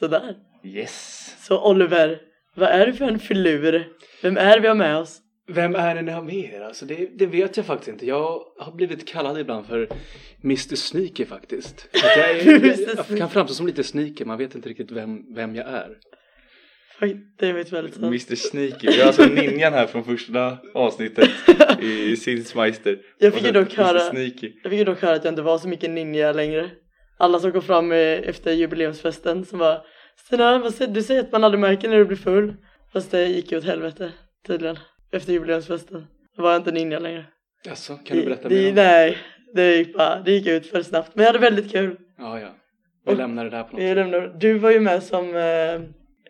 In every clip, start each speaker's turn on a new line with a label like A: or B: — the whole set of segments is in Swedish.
A: Sådär.
B: Yes.
A: Så Oliver, vad är du för en filur? Vem är vi har med oss?
B: Vem är det ni har med er? Alltså det, det vet jag faktiskt inte. Jag har blivit kallad ibland för Mr Sneaker faktiskt. För Att jag, är,
A: Mr.
B: jag, jag kan framstå som lite sneaker, man vet inte riktigt vem, vem jag är.
A: Oj, Det vet väldigt sant.
C: Mr Sneaky, vi har alltså ninjan här från första avsnittet i Sinsmeister.
A: Jag fick
C: Och sen
A: ju dock höra-
C: Mr Sneaky.
A: Jag fick ju dock höra att jag inte var så mycket ninja längre. Alla som kom fram eh, efter jubileumsfesten som bara Stina, vad säger, du säger att man aldrig märker när du blir full. Fast det gick ju åt helvete tydligen. Efter jubileumsfesten. Då var jag inte ninja längre.
B: Alltså, kan du berätta
A: det,
B: mer?
A: det,
B: om det?
A: Nej, det gick, bara, det gick ut för snabbt. Men jag hade väldigt kul.
B: Ja, ja. Jag lämnar det där på
A: Jag
B: något.
A: lämnar, du var ju med som eh,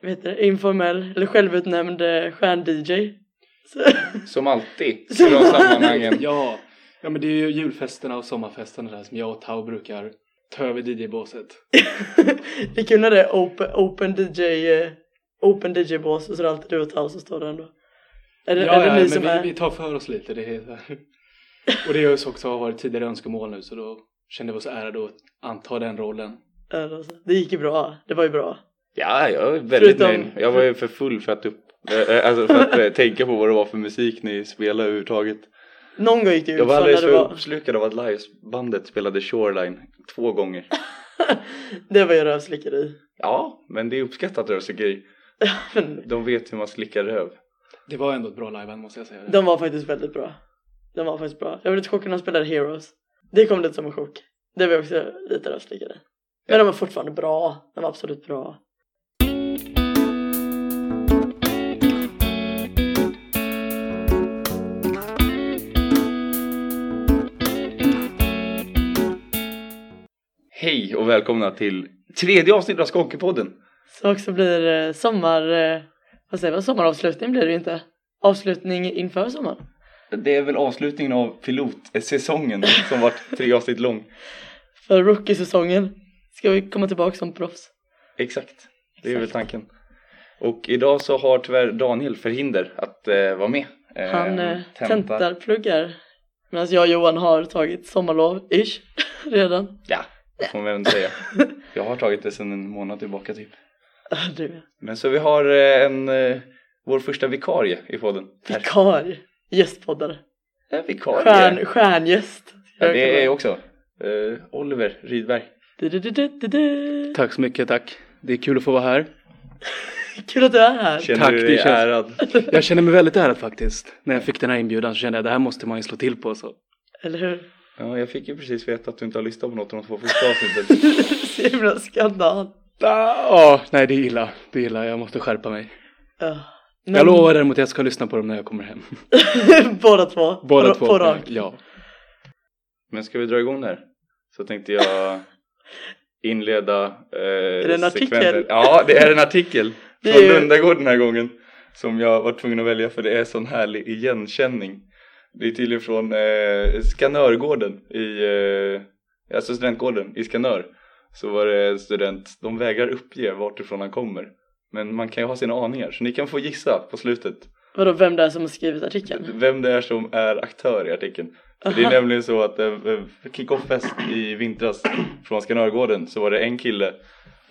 A: vad heter det, informell eller självutnämnd eh, stjärn-DJ. Så,
C: Som alltid i de sammanhangen.
B: Ja, ja men det är ju julfesterna och sommarfesterna där som jag och Tau brukar ta över DJ-båset.
A: det är kul när det är open, open DJ eh, Open DJ-bås och så är det alltid du och Tau som står där ändå. Är det,
B: ja,
A: är det
B: ja,
A: ni
B: men
A: som
B: vi,
A: är?
B: vi tar för oss lite. Det är, och det har ju också har varit tidigare önskemål nu så då kände vi oss ärade att anta den rollen.
A: Ja, då så. Det gick ju bra, det var ju bra.
C: Ja, jag är väldigt
A: Förutom-
C: nöjd. Jag var ju för full för att, upp, eh, eh, alltså för att eh, tänka på vad det var för musik ni spelade överhuvudtaget.
A: Någon gång gick det ut
C: Jag var
A: så när
C: alldeles
A: det
C: för
A: var,
C: uppslukad av att livebandet spelade Shoreline två gånger.
A: det var ju rövslickeri.
C: Ja, men det är uppskattat rövslickeri.
A: Men
C: De vet hur man slickar röv.
B: Det var ändå ett bra liveband måste jag säga.
A: De var faktiskt väldigt bra. De var faktiskt bra. Jag blev lite chockad när de spelade Heroes. Det kom lite som en chock. Det var också lite rövslickeri. Men de var fortfarande bra. De var absolut bra.
C: Hej och välkomna till tredje avsnittet av Skonkepodden.
A: Så också blir eh, sommar... eh, Vad säger man? Sommaravslutning blir det ju inte. Avslutning inför sommaren.
C: Det är väl avslutningen av pilotsäsongen som varit tre avsnitt lång.
A: För rookie-säsongen ska vi komma tillbaka som proffs.
C: Exakt, det är väl tanken. Och idag så har tyvärr Daniel förhinder att eh, vara med. Eh,
A: Han eh,
C: tentar.
A: tentar, pluggar. Medan jag och Johan har tagit sommarlov-ish redan.
C: Ja, det får man väl inte säga. Jag har tagit det sedan en månad tillbaka typ.
A: Ah, Du,
C: Men så vi har eh, en, eh, vår första vikarie i podden.
A: vikarie. Gästpoddare.
C: En vikarie.
A: Stjärn, stjärngäst.
C: Ja, det är jag också. Eh, Oliver Rydberg.
A: Du, du, du, du, du, du.
B: Tack så mycket, tack. Det är kul att få vara här.
A: Kul att du är här.
C: Känner
B: Tack,
C: du
B: det
C: dig
B: känns-
C: ärad?
B: Jag känner mig väldigt ärad faktiskt. När jag fick den här inbjudan så kände jag att det här måste man ju slå till på. Så.
A: Eller hur?
C: Ja, jag fick ju precis veta att du inte har lyssnat på något av de två första avsnitten.
A: Så himla skandal.
B: Ah, nej, det är illa. Det är illa. Jag måste skärpa mig.
A: Ja.
B: Jag lovar däremot att jag ska lyssna på dem när jag kommer hem.
A: Båda två.
B: Båda
A: på,
B: två.
A: På rak.
B: Ja.
C: Men ska vi dra igång där? Så tänkte jag inleda eh, Är
A: det en artikel?
C: Ja, det är en artikel
A: Det
C: från
A: är ju-
C: Lundagård den här gången som jag var tvungen att välja för det är sån härlig igenkänning. Det är tydligen från eh, Skanörgården i eh, alltså studentgården i Skanör så var det en student, de vägrar uppge vart ifrån han kommer. Men man kan ju ha sina aningar så ni kan få gissa på slutet
A: Vadå, vem det är som har skrivit artikeln?
C: vem det är som är aktör i artikeln. För det är nämligen så att eh, eh, kick-off-fest i vintras från Skanörgården så var det en kille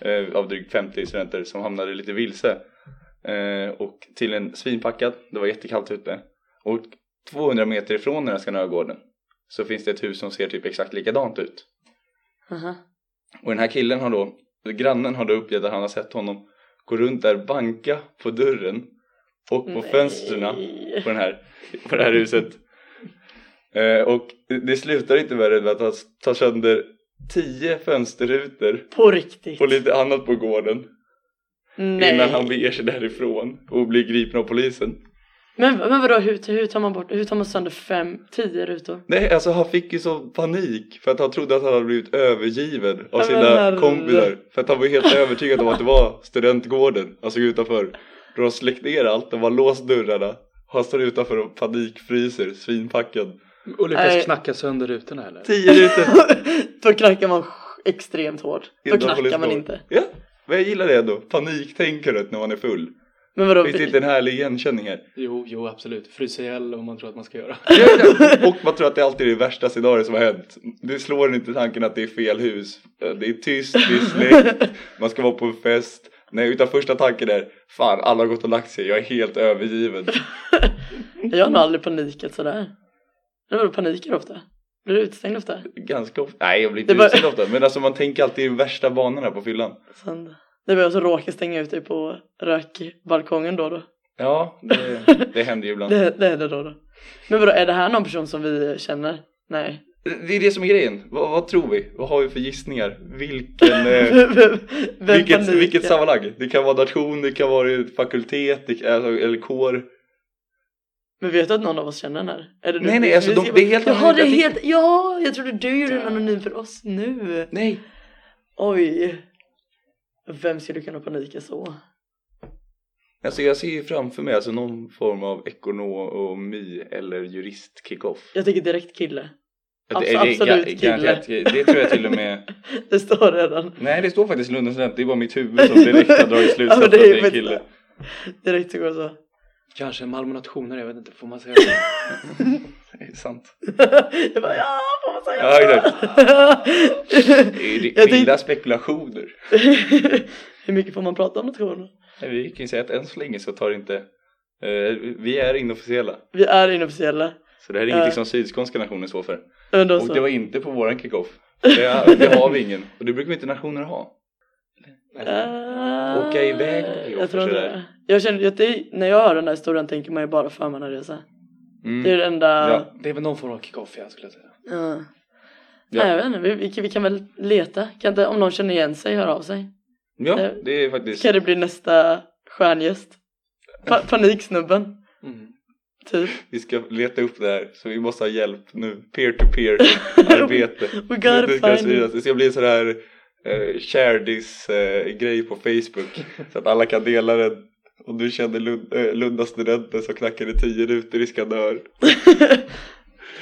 C: eh, av drygt 50 studenter som hamnade lite vilse. Eh, och till en svinpackad, det var jättekallt ute. Och 200 meter ifrån den här Skanörgården så finns det ett hus som ser typ exakt likadant ut.
A: Aha.
C: Och den här killen har då, grannen har då uppgett att han har sett honom gå runt där, banka på dörren och på
A: Nej.
C: fönstren på, den här, på det här huset. Eh, och det slutar inte med det med att han tar sönder tio fönsterrutor
A: På riktigt?
C: och lite annat på gården
A: Nej.
C: innan han beger sig därifrån och blir gripen av polisen.
A: Men, men vadå, hur, hur tar man bort, hur tar man sönder fem, tio rutor?
C: Nej, alltså han fick ju så panik för att han trodde att han hade blivit övergiven av
A: men
C: sina
A: herre.
C: kompisar. För att han var helt övertygad om att det var studentgården, alltså utanför. Då de släckt ner allt, de har låst dörrarna. Han står utanför och panikfryser, svinpackad.
A: Nej.
B: Och lyckas knacka sönder rutorna eller?
C: Tio rutor
A: Då knackar man extremt hårt. Då
C: innan
A: knackar
C: polisen
A: man
C: kom.
A: inte.
C: Ja, men jag gillar det ändå. Paniktänkandet när man är full.
A: Men vadå?
C: Finns det inte en härlig igenkänning här?
B: Jo, jo absolut. Frysa ihjäl vad man tror att man ska göra.
C: Och man tror att det alltid är det värsta scenariot som har hänt. Det slår inte tanken att det är fel hus. Det är tyst, det är släckt, man ska vara på en fest. Nej, utan första tanken är fan, alla har gått och lagt sig, jag är helt övergiven.
A: Jag har nog aldrig panikat sådär. Men vadå paniker ofta? Blir du utestängd ofta?
C: Ganska ofta. Nej, jag blir inte
A: Det bara-
C: utsedd ofta. Men alltså man tänker alltid i värsta banorna på fyllan.
A: Sen, det var jag som råkade stänga ut dig på rökbalkongen då då.
C: Ja, det, det händer ju ibland.
A: Det, det är det då då. Men vadå, är det här någon person som vi känner? Nej.
C: Det är det som är grejen. Vad, vad tror vi? Vad har vi för gissningar? Vilken... Eh,
A: Vem
C: vilket,
A: panikar?
C: vilket sammanhang? Det kan vara nation, det kan vara fakultet det, alltså, eller kår.
A: Men vet du att någon av oss känner den här? Är det du?
C: Nej, nej,
A: Vi-
C: alltså,
A: vi
C: de-
A: ska-
C: det är helt
A: Jaha, det är
C: anonymt.
A: helt... Ja, jag trodde du gjorde den anonym för oss nu.
C: Nej,
A: Oj. Vem skulle kunna panika så?
C: alltså jag ser ju framför mig alltså någon form av ekonomi eller jurist kickoff.
A: Jag tänker direkt kille.
C: Att det-
A: Abs-
C: det- det-
A: absolut
C: ga-
A: kille.
C: garanterat- Det tror jag till och med.
A: Det står redan.
C: Nej, det står faktiskt Lundens student. Det är bara mitt huvud som direkt har dragit
A: Ja,
C: slutsatsen
A: men
C: att det
A: det är
C: är en kille.
A: Direkt så går det så.
B: Kanske Malmö nationer, jag vet inte. Får man säga det?
C: Det är sant.
A: jag bara, ja, får man säga
C: Ja, exakt.
A: så?
C: Det är ju
A: Jag
C: vilda spekulationer.
A: Hur mycket får man prata om nationer?
C: Nej, Vi kan ju säga att än så länge så tar det inte, eh, vi är inofficiella.
A: Vi är inofficiella.
C: Så det här är ingenting
A: Ja.
C: som Sydskånska nationen står för.
A: Men då
C: Och
A: så.
C: det var inte på våran kickoff. Det, det har vi ingen. Och det brukar vi inte nationer ha.
A: Ah,
C: Åka iväg på
A: Jag
C: jobb,
A: tror inte
C: sådär.
A: det. Jag känner ju att det, när jag hör den här historien tänker man ju bara förmannarresa. Det är
C: Mm.
A: det enda...
C: Ja.
B: Det är väl någon form av kick-off, jag skulle säga.
A: Ja.
C: Ja.
A: Nej, jag vet inte, vi, vi, kan- vi kan väl leta. Kan inte, om någon känner igen sig, hör av sig.
C: ja, det är faktiskt.
A: Kan det bli nästa stjärngäst? Pa paniksnubben,
B: Mm.
A: typ.
C: Vi ska leta upp det här. Så vi måste ha hjälp nu. Peer-to-peer arbete.
A: We gotta
C: Det ska,
A: find you.
C: spridas. det ska bli en sån här eh, share this eh, grej på Facebook. Så att alla kan dela den. Om du känner Lund, eh, Lunda studenten som knackade tio rutor i Skandör.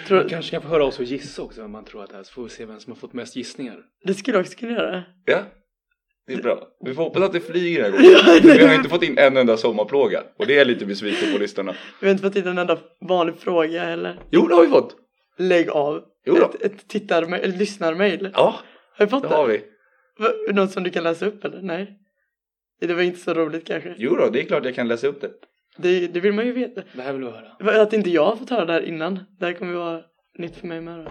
A: tror,
B: Man kanske kan få höra oss och gissa också vem man tror att det är, så får vi se vem som har fått mest gissningar.
A: det skulle jag också kunna göra.
C: Ja, det är bra. Vi får hoppas att det flyger den här gången. Men Vi har inte fått in en enda sommarplåga. Och det är jag lite besviken på lyssnarna.
A: Vi har inte fått in en enda vanlig fråga eller
C: Jo, det har vi fått!
A: lägg av.
C: Jo då.
A: Ett, ett tittar, eller lyssnarmail.
C: Ja,
A: Har vi fått
C: det
A: det?
C: har vi.
A: Va- Något som du kan läsa upp eller? Nej. Det var inte så roligt kanske.
C: Jo då, det är klart jag kan läsa upp det.
A: Det, det vill man ju veta.
B: Det här vill vi höra.
A: Va, Att inte jag har fått höra det här innan. Det här kommer ju vara nytt för mig med då.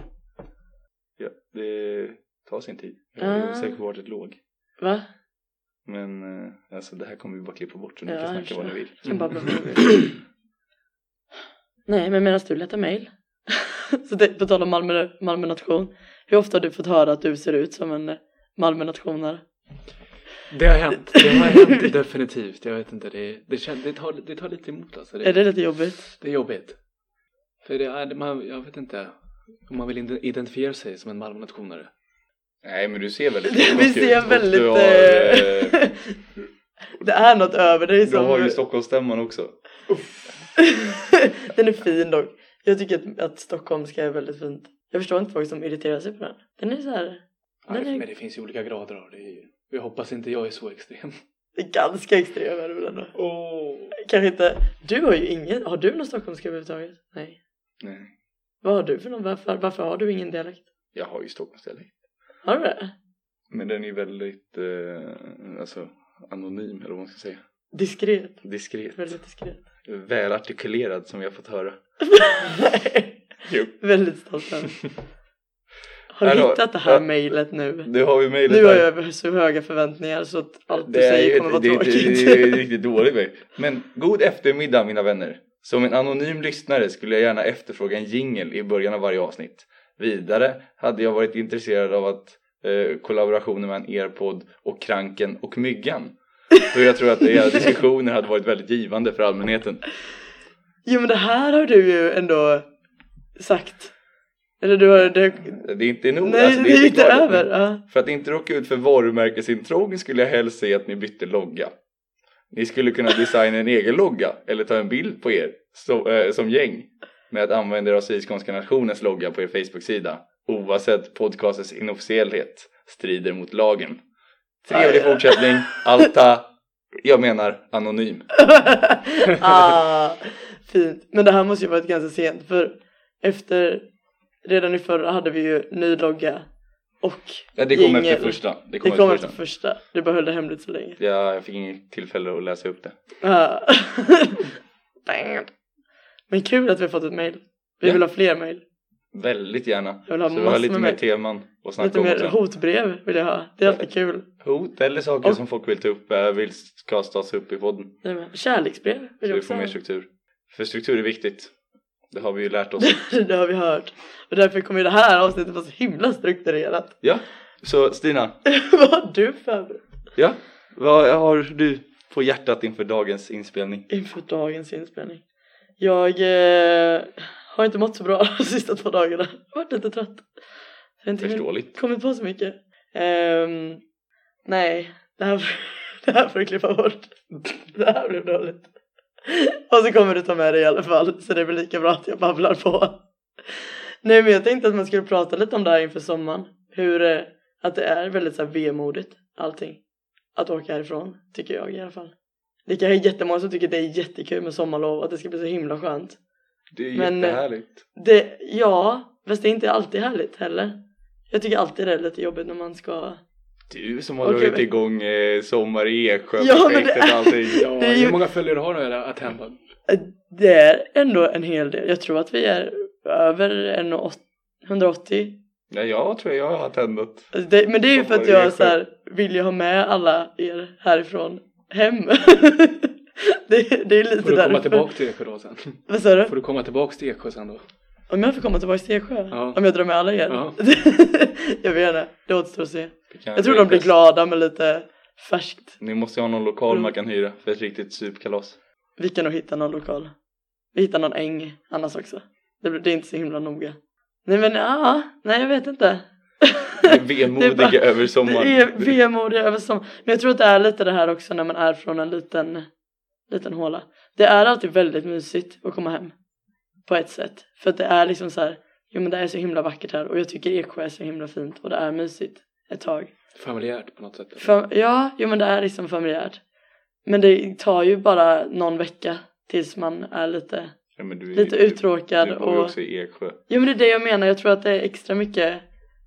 C: Ja, det tar sin tid. Jag är
A: Ah.
C: osäker på vart det låg.
A: Va?
C: Men eh, alltså, det här kommer vi bara klippa bort så ni
A: Ja, Mm.
C: kan
A: jag
C: snacka vad ni vill.
A: Jag kan bara blanda ihop. Nej, men medan du letar mejl. Så det, på tal om Malmö, Malmö nation. Hur ofta har du fått höra att du ser ut som en eh, Malmö nationare?
B: Det har hänt. Det har hänt definitivt. Jag vet inte. Det, det, kän- det, tar, det tar lite emot alltså.
A: Är det lite jobbigt?
B: Det är jobbigt. För det är, man, jag vet inte om man vill inte identifiera sig som en Malmönationare.
C: Nej, men du ser väldigt
A: Vi
C: stockholmsk ut
A: ser
C: och
A: väldigt...
C: Du har,
A: eh,
C: eh,
A: det är något över dig
C: du
A: som...
C: har ju Stockholmsstämman också.
A: den är fin dock. Jag tycker att, att stockholmska är väldigt fint. Jag förstår inte folk som irriterar sig på den. Den är så här...
B: Ja,
A: Den
B: det-
A: är-
B: Men det finns ju olika grader av det. är ju- Jag hoppas inte jag är så extrem.
A: det är ganska extrem är det väl ändå.
B: Oh.
A: Kanske inte... Du har ju ingen... Har du någon stockholmska överhuvudtaget? Nej.
C: Nej,
A: Vad har du för någon? Varför, varför har du ingen dialekt?
C: jag har ju Stockholmsdialekt.
A: Har du det?
C: Men den är väldigt eh, alltså, anonym, eller vad man ska säga.
A: Diskret.
C: Diskret.
A: Väldigt diskret.
C: välartikulerad som vi har fått höra. Jo.
A: Väldigt stolt över. Har du
C: Hallå,
A: hittat det här
C: ja.
A: mejlet nu?
C: Nu har vi mejlet
A: Nu har
C: här.
A: jag så höga förväntningar så att allt du
C: Det är,
A: säger
C: ju-
A: kommer vara
C: det, det,
A: tråkigt.
C: det är riktigt dåligt mig. Men god eftermiddag mina vänner. Som en anonym lyssnare skulle jag gärna efterfråga en jingel i början av varje avsnitt. Vidare hade jag varit intresserad av att eh, kollaborationen mellan er podd och Kranken och Myggan. Så jag tror att era diskussioner hade varit väldigt givande för allmänheten.
A: Jo men det här har du ju ändå sagt. Eller du har... Det,
C: Det är inte nog.
A: nej,
C: alltså,
A: det är inte
C: galet.
A: över. Ja.
C: För att inte råka ut för varumärkesintrång skulle jag helst se att ni bytte logga. Ni skulle kunna designa en egen logga eller ta en bild på er så, eh, som gäng med att använda er av Sydskånska nationens logga på er Facebook-sida. Oavsett podcastens inofficiellhet strider mot lagen. Trevlig
A: Aj.
C: fortsättning, Alta Jag menar anonym.
A: ah, fint. Men det här måste ju varit ganska sent för efter, redan i förra hade vi ju ny logga och
C: Ja, det kom efter
A: jingel.
C: första. Det
A: Det
C: kom,
A: kom
C: efter
A: efter
C: första.
A: första. Du bara höll det hemligt så länge.
C: Ja, jag fick inget tillfälle att läsa upp det.
A: Ah. Damn. Men kul att vi har fått ett mail. Vi
C: Ja.
A: vill ha fler mail.
C: Väldigt gärna.
A: Jag vill ha
C: så vi har
A: massor
C: lite
A: med
C: mer
A: mail.
C: teman att snacka
A: Lite
C: om
A: mer
C: också. Hot.
A: hotbrev vill jag ha. Det är alltid kul.
C: eller saker
A: Och-
C: som folk vill ta upp, eh, vill ska tas upp i podden.
A: Nej, men Kärleksbrev vill
C: Så
A: jag
C: vi
A: också
C: får
A: ha.
C: mer struktur. För struktur är viktigt. Det har vi ju lärt oss.
A: Det har vi hört. Och därför kommer ju det här avsnittet vara så himla strukturerat.
C: ja, så Stina.
A: Vad har du förberett
C: Ja, vad har du på hjärtat inför dagens inspelning?
A: inför dagens inspelning? Jag eh, har inte mått så bra de sista två dagarna. Jag har varit lite trött. Jag har inte
C: Förståeligt.
A: kommit på så mycket. Ehm, nej, det här, det här får du klippa bort. Det här blev dåligt. Och så kommer du ta med det i alla fall så det blir lika bra att jag babblar på. Nej men jag tänkte att man skulle prata lite om det här inför sommaren. Hur eh, att det är väldigt så här vemodigt allting. Att åka härifrån tycker jag i alla fall. Det kan ju jättemånga som tycker det är jättekul med sommarlov och att det ska bli så himla skönt.
C: Det är
A: Men, eh,
C: jättehärligt.
A: Det, ja, fast det är inte alltid härligt heller. Jag tycker alltid det är lite jobbigt när man ska
C: Du som har
A: Okej,
C: dragit
A: men-
C: igång eh, Sommar i Eksjö
A: Ja, men
C: projektet
A: det-
C: och allting.
B: Ja,
A: Det är ju-
B: hur många följare har du att hemma?
A: Det är ändå en hel del. Jag tror att vi är över en och åt- 180.
C: Ja, jag tror jag har tändat.
A: Alltså det, men det är ju för att
C: Vad var det
A: jag så här, vill ju ha med alla er härifrån hem. det, det är lite
B: Får du komma
A: därför.
B: tillbaka till Eksjö då sen?
A: Vad sa du?
B: Får du komma tillbaka till Eksjö sen då?
A: Om jag får komma tillbaka till Eksjö?
B: Ja.
A: Om jag drar med alla er?
B: Ja.
A: jag vet inte. Det återstår att se. Jag tror de blir glada Mm. med lite färskt.
C: Ni måste ju ha någon lokal man kan hyra för ett riktigt supkalas.
A: Vi kan nog hitta någon lokal. Vi hittar någon äng annars också. Det, blir- det är inte så himla noga. Nej men ja, nej jag vet inte.
C: Det är Vemodiga
A: bara-
C: över sommaren.
A: Det är vemodig över sommaren. Men jag tror att det är lite det här också när man är från en liten, liten håla. Det är alltid väldigt mysigt att komma hem. På ett sätt. För att det är liksom så här, jo men det är så himla vackert här och jag tycker Eksjö är så himla fint och det är mysigt ett tag.
B: Familjärt på något sätt.
A: Fam- ja, jo men det är liksom familjärt. Men det tar ju bara någon vecka tills man är lite,
C: Ja, men du är-
A: lite uttråkad
C: Du bor ju
A: och...
C: också i Eksjö.
A: Jo men det är det jag menar, jag tror att det är extra mycket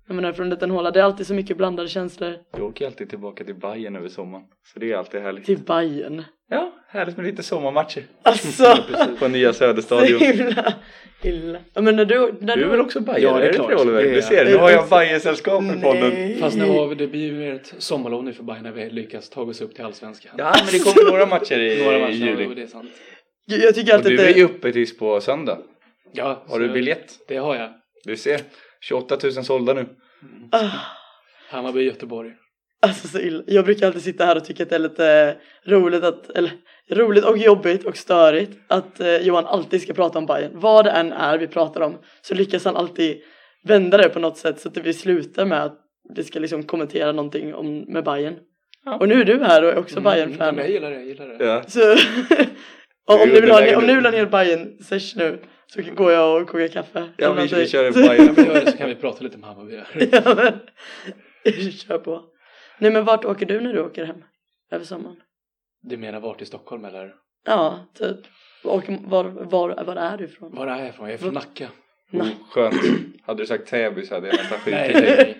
A: när man är från en liten håla. Det är alltid så mycket blandade känslor.
C: Du åker ju alltid tillbaka till Bayern över sommaren. Så det är alltid härligt.
A: Till Bayern.
C: Ja, härligt med lite sommarmatcher.
A: Alltså!
C: På nya
A: Så
C: Söderstadion.
A: himla illa. Ja, Men när du, när
C: Du
A: du,
C: är väl också Bajare?
B: Ja, det är
C: är
B: klart.
C: det, Oliver?
B: Det är
C: Du
B: jag.
C: ser, nu
A: Det är
C: har jag
A: också-
C: Bajensällskap i podden.
A: Nej.
B: Fast nu har vi, det blir ju ett sommarlov nu för Bayern när vi lyckas ta oss upp till Allsvenskan.
C: Ja, men det kommer några matcher i,
B: Några matcher,
C: i
B: juli. och
C: juli.
B: det är sant.
A: Jag, jag tycker
C: Och
A: alltid
C: du
A: att det
C: är ju uppe tills på söndag.
B: Ja,
C: Har
B: så-
C: du biljett?
B: Det har jag.
C: Du ser, 28 000 sålda nu.
A: Ah,
B: Hammarby, Göteborg.
A: Alltså så illa. Jag brukar alltid sitta här och tycka att det är lite roligt att, eller roligt och jobbigt och störigt att eh, Johan alltid ska prata om Bayern. Vad det än är vi pratar om så lyckas han alltid vända det på något sätt så att vi slutar med att vi ska liksom kommentera någonting om, med Bayern.
C: Ja.
A: Och nu är du här och är också
B: Mm,
A: Bayern-fan.
B: men jag gillar det, jag gillar det.
C: Ja.
A: Så och om,
C: Jo,
A: ni vill ha,
C: det är-
A: om ni vill ha en hel bayern sesh nu så går jag och kokar kaffe.
C: Ja, vi- vi kör en
A: Så-
C: Bayern.
B: När vi gör det så kan vi prata lite om Hammarby här.
A: ja, men, kör på. Nej men vart åker du när du åker hem? Över sommaren?
B: Du menar vart i Stockholm eller?
A: Ja, typ. Och var, var, var är du ifrån?
B: Var är jag ifrån? Jag är
A: Mm.
B: från Nacka.
C: Oh, skönt. Hade du sagt Täby så hade jag nästan
B: Nej,
C: skitit
B: nej,
C: dig.
B: nej.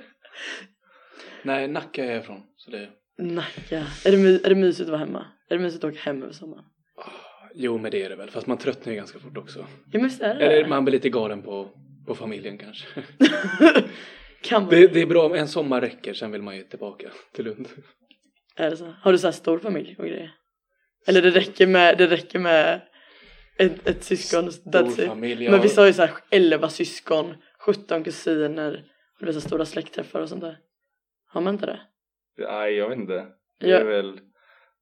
B: nej, Nacka är jag ifrån. Så det...
A: Nacka. Är det, my, är det mysigt att vara hemma? Är det mysigt att åka hem över sommaren?
B: Jo, men det är det väl. Fast man tröttnar ju ganska fort också.
A: Ja men visst är det
B: Eller
A: det?
B: man blir lite galen på, på familjen kanske.
A: Kan man?
B: Det, det är bra om en sommar räcker, sen vill man ju tillbaka till Lund.
A: Är det så? Har du så här stor familj och grejer? Eller det räcker med, det räcker med ett, ett syskon, that's it.
B: familj.
A: Men vissa har ju såhär 11 syskon, 17 kusiner och det blir så stora släktträffar och sånt där. Har man inte det?
C: Nej, jag vet inte. Det
A: Ja.
C: är väl,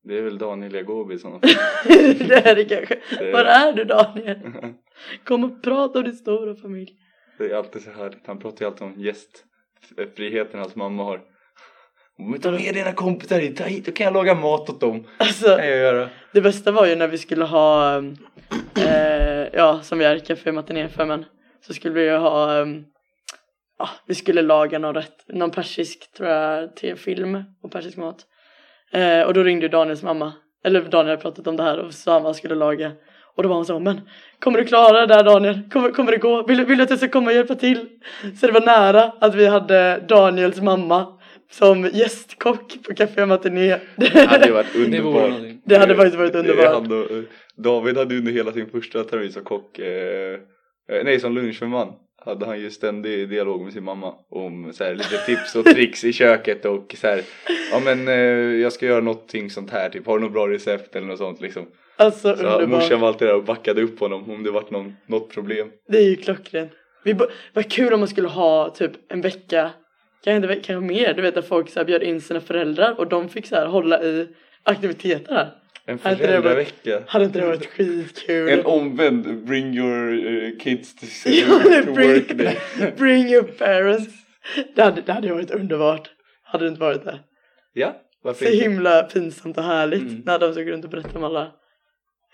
C: det är väl Daniel Jagobi som...
A: det är det kanske.
C: Det
A: Var
C: är,
A: är du Daniel? Kom och prata om din stora familj.
C: det är alltid så härligt. Han pratar ju alltid om gästfriheten hans mamma har. Men ta med dina kompisar hit, ta hit, då kan jag laga mat åt dem.
A: Alltså
C: kan jag göra.
A: det bästa var ju när vi skulle ha, um, eh, ja som vi är Café Matiné för men så skulle vi ju ha, um, ja vi skulle laga någon rätt, någon persisk tror jag, tefilm och persisk mat. Eh, och då ringde ju Daniels mamma eller Daniel hade pratat om det här och sa man skulle laga. Och då var hon så, men kommer du klara det där Daniel? Kommer, kommer det gå? Vill, vill du att jag ska komma och hjälpa till? Så det var nära att vi hade Daniels mamma som gästkock på Café Matiné.
C: Det hade ju varit
B: Det vore
C: underbart.
B: någonting.
A: Det hade faktiskt varit
C: Det
A: underbart.
C: hade- eh, David hade under hela sin första termin som kock, eh, eh, nej som lunchförman hade han ju ständig dialog med sin mamma om så här, lite tips och tricks i köket och så här, ja men eh, jag ska göra någonting sånt här typ, har du något bra recept eller något sånt liksom.
A: Alltså
C: Så
A: underbart.
C: morsan var alltid där och backade upp honom om det vart någon, något problem.
A: Det är ju klockrent. Vi bo- vad kul om man skulle ha typ en vecka, kanske, inte, ve- kanske mer, du vet att folk så här bjöd in sina föräldrar och de fick så här hålla i aktiviteter här.
C: En
A: Hade det varit-
C: föräldravecka.
A: Hade inte det varit skitkul?
C: En omvänd bring your eh, kids to,
A: Ja,
C: to
A: det
C: work
A: bring,
C: day.
A: bring your parents. Det hade, det hade ju varit underbart. Hade det inte varit det?
C: Ja, varför
A: Så
C: inte?
A: himla pinsamt och härligt
B: Mm.
A: när de såg runt och berättade om alla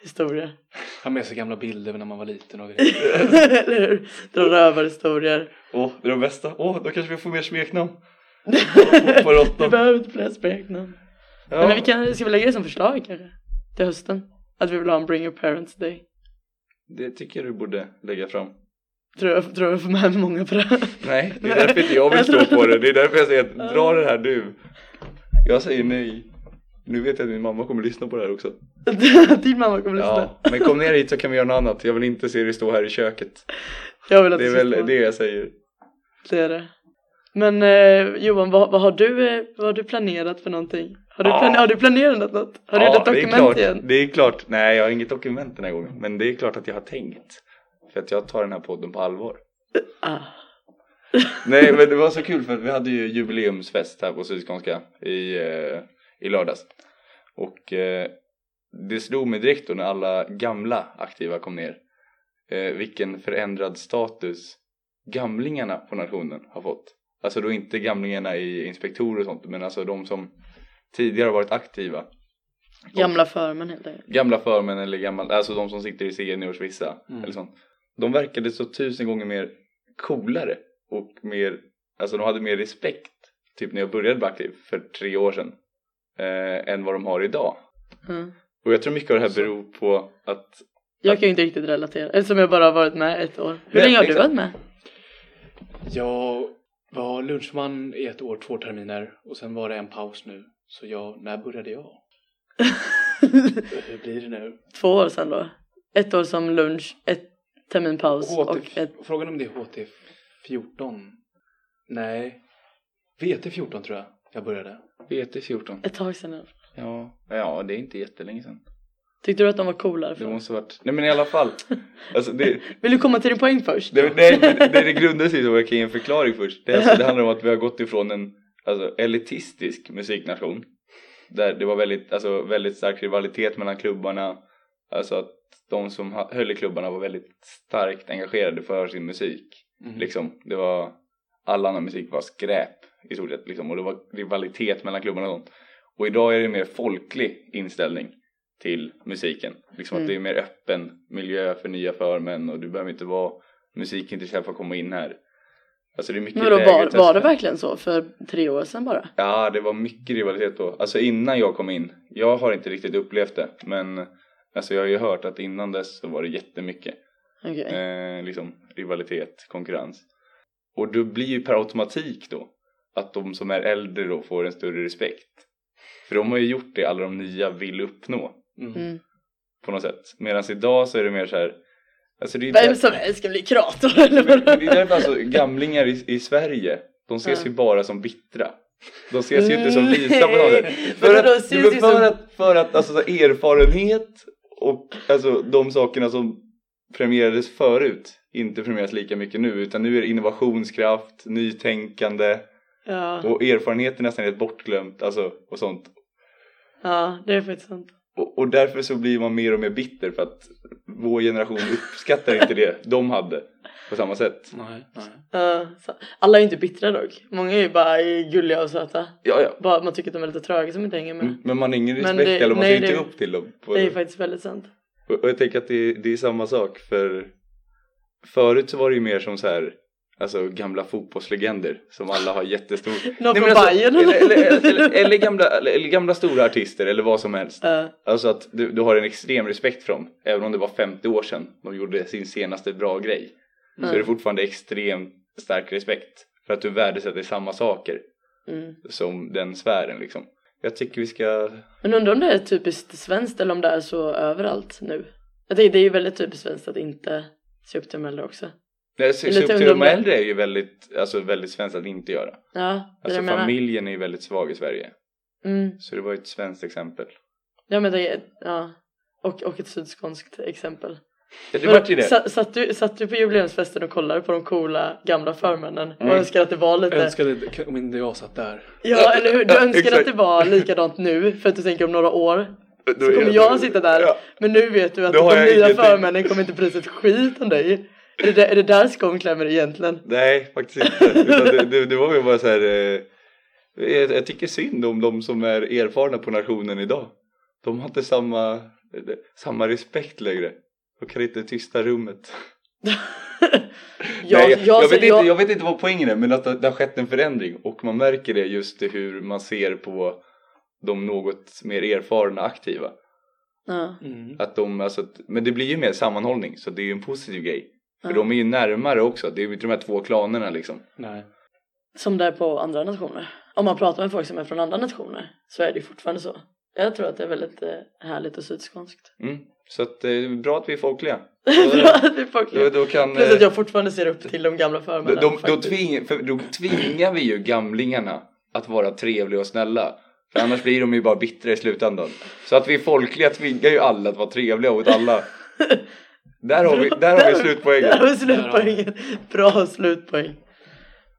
A: historier.
B: Ha med sig gamla bilder när man var liten och grejer.
A: Eller hur? Dra rövarhistorier.
C: Åh, det är de bästa. Åh, då kanske vi får mer smeknamn. På
A: Vi
C: råttan.
A: behöver inte fler smeknamn.
C: Ja.
A: Nej, Men vi kan, ska vi lägga det som förslag kanske? Till hösten? Att vi vill ha en bring your parents day.
C: Det tycker jag du borde lägga fram.
A: Tror jag, tror jag får med mig många på det. här.
C: Nej, det är därför inte jag vill
A: Jag
C: stå
A: tror-
C: på det. Det är därför jag säger att dra det här du. Jag säger nej. Nu vet jag att min mamma kommer lyssna på det här också.
A: Din mamma kommer lyssna.
C: Ja, men kom ner hit så kan vi göra något annat. Jag vill inte se dig stå här i köket.
A: Jag vill att
C: Det
A: du
C: är
A: ska
C: väl
A: få-
C: det jag säger.
A: Det är det. Men eh, Johan, vad, vad, har du, eh, vad har du planerat för någonting? Har du,
C: Ja.
A: plan, har du planerat något? Har du gjort ett
C: det är
A: dokument
C: klart,
A: igen?
C: Det är klart. Nej, jag har inget dokument den här gången. Men det är klart att jag har tänkt. För att jag tar den här podden på allvar.
A: Ah,
C: Nej men det var så kul för att vi hade ju jubileumsfest här på Sydskånska i, eh, i lördags. Och eh, det slog mig direkt då när alla gamla aktiva kom ner. Eh, vilken förändrad status gamlingarna på nationen har fått. Alltså då inte gamlingarna i inspektorer och sånt men alltså de som tidigare har varit aktiva.
A: gamla förmen helt enkelt.
C: Gamla förmän eller gamla, alltså de som sitter i seniors vissa
B: Mm.
C: eller sånt. De verkade så tusen gånger mer coolare och mer, alltså de hade mer respekt typ när jag började vara aktiv för tre år sedan eh, än vad de har idag.
A: Mm.
C: Och jag tror mycket av det här beror på att
A: Jag kan ju inte riktigt relatera eftersom jag bara har varit med ett år. Hur
C: Nej,
A: länge har du
C: exakt.
A: varit med?
B: Jag var lunchman i ett år, två terminer och sen var det en paus nu. Så jag, när började jag? Hur blir det nu?
A: Två år sedan då? Ett år som lunch, ett terminpaus
C: typ.
A: och ett...
B: Frågan om det är HT14? Nej, VT14 tror jag jag började.
C: VT14,
A: Ett tag sedan.
C: ja, ja det är inte jättelänge sedan.
A: Tyckte du att de var coolare?
C: Det
A: För?
C: måste ha varit, nej men i alla fall. Alltså det,
A: Vill du komma till din poäng först?
C: Det, det, det, det grundar sig i att jag kan ge en förklaring först. Det, är alltså, det handlar om att vi har gått ifrån en alltså, elitistisk musiknation. Där det var väldigt, alltså, väldigt stark rivalitet mellan klubbarna. Alltså att de som ha- höll i klubbarna var väldigt starkt engagerade för sin musik.
B: Mhm.
C: Liksom. Det var, all annan musik var skräp i stort sett. Liksom. Och det var rivalitet mellan klubbarna och sånt. Och idag är det mer folklig inställning till musiken. Liksom
A: Mm.
C: att det är mer öppen miljö för nya förmän och du behöver inte vara musikintresserad för att komma in här. Alltså det är mycket
A: Men då,
C: lägre
A: var, var det
C: trösklar.
A: verkligen så för tre år sedan bara?
C: Ja, det var mycket rivalitet då. Alltså innan jag kom in. Jag har inte riktigt upplevt det, men alltså jag har ju hört att innan dess så var det jättemycket
A: Okej.
C: eh, liksom, rivalitet, konkurrens. Och då blir ju per automatik då att de som är äldre då får en större respekt. För de har ju gjort det alla de nya vill uppnå
B: Mm.
A: Mm.
C: på något sätt. Medan idag så är det mer så här. Alltså det är
A: Vem som helst ska bli kurator eller
C: Men Det är
A: vad?
C: därför alltså gamlingar i, i Sverige, de ses ju
A: Ja.
C: bara som bittra. De ses ju inte som visa på något sätt. För
A: Men de
C: att,
A: ses ju
C: för,
A: som-
C: för att, för att alltså, så här, erfarenhet och alltså, de sakerna som premierades förut inte premieras lika mycket nu utan nu är det innovationskraft, nytänkande
A: Ja,
C: och erfarenhet är nästan helt bortglömt alltså, och sånt.
A: ja, det är faktiskt sant.
C: Och, och därför så blir man mer och mer bitter för att vår generation uppskattar inte det de hade på samma sätt.
B: Nej, nej.
A: Ja, så- alla är ju inte bittra dock. Många är ju bara gulliga och söta.
C: Ja, ja.
A: Bara, man tycker att de är lite tröga som inte hänger med.
C: Men man har ingen
A: Mm. Men
C: respekt
A: det-
C: eller man
A: nej,
C: ser inte
A: det-
C: upp till dem. På,
A: Det är ju faktiskt väldigt sant.
C: och, och jag tänker att det, är- det är samma sak för förut så var det ju mer som så här Alltså gamla fotbollslegender som alla har jättestor
A: Någon
C: Nej,
A: från
C: men alltså,
A: Bayern
C: eller,
A: eller?
C: eller, eller, eller, gamla, eller, eller gamla stora artister eller vad som helst
A: Ja.
C: Alltså att du, du har en extrem respekt för dem Även om det var 50 år sedan de gjorde sin senaste bra grej Så
A: Mm.
C: är det fortfarande extremt stark respekt För att du värdesätter samma saker
A: Mm.
C: som den sfären liksom Jag tycker vi ska
A: Men undrar om det är typiskt svenskt eller om det är så överallt nu. Jag tänker, det är ju väldigt typiskt svenskt att inte se upp till de äldre också.
C: Nej, se,
A: Lite
C: se upp till de
A: ungdomar.
C: äldre är ju väldigt, alltså väldigt svenskt att inte göra
A: Ja, det är det
C: Alltså
A: jag menar.
C: familjen är ju väldigt svag i Sverige
A: Mm.
C: Så det var ju ett svenskt exempel
A: Ja, men det är, ja. Och, och ett sydskånskt exempel.
C: Ja det
A: Vadå,
C: vart ju det
A: sa- Satt du, satt du på jubileumsfesten och kollade på de coola gamla förmännen
C: Mm.
A: och önskade att det var lite
B: Jag önskade om inte jag satt där.
A: Ja eller hur, du
C: Ja,
A: önskade
C: exakt.
A: att det var likadant nu för att du tänker om några år
C: Då
A: så
C: är
A: kommer jag sitta där
C: Ja.
A: men nu vet du att
C: Då har
A: de
C: jag
A: nya
C: ingenting.
A: förmännen kommer inte bry sig ett skit om dig Är det där, är det där skon klämmer egentligen?
C: Nej faktiskt inte. Utan det, det, det var ju bara så här. eh, Jag, jag tycker synd om de som är erfarna på nationen idag. De har inte samma, eh, samma respekt längre. De kan inte tysta rummet.
A: Jag,
C: Nej, jag,
A: jag,
C: jag,
A: så
C: vet
A: jag,
C: inte, jag vet inte vad poängen är men att det, det har skett en förändring och man märker det just i hur man ser på de något mer erfarna aktiva.
A: Ja,
B: Mm.
C: Att de, alltså, att- men det blir ju mer sammanhållning så det är ju en positiv grej. För
A: Ja.
C: de är ju närmare också, det är ju inte de här två klanerna liksom.
B: Nej.
A: Som det är på andra nationer Om man pratar med folk som är från andra nationer så är det ju fortfarande så Jag tror att det är väldigt eh, härligt och sydskånskt
C: Mm. Så att, eh, det är bra att vi är folkliga.
A: Bra att vi
C: Då,
A: folk-
C: då kan,
A: Plus att
C: eh,
A: jag fortfarande ser upp till de gamla
C: då,
A: förmännen
C: då, då,
A: faktiskt.
C: tving, för då tvingar vi ju gamlingarna att vara trevliga och snälla. För annars blir de ju bara bittra i slutändan. Så att vi är folkliga tvingar ju alla att vara trevliga mot alla. Där har vi, där har vi
A: Där har
C: slutpoängen.
A: vi slutpoängen. Bra slutpoäng.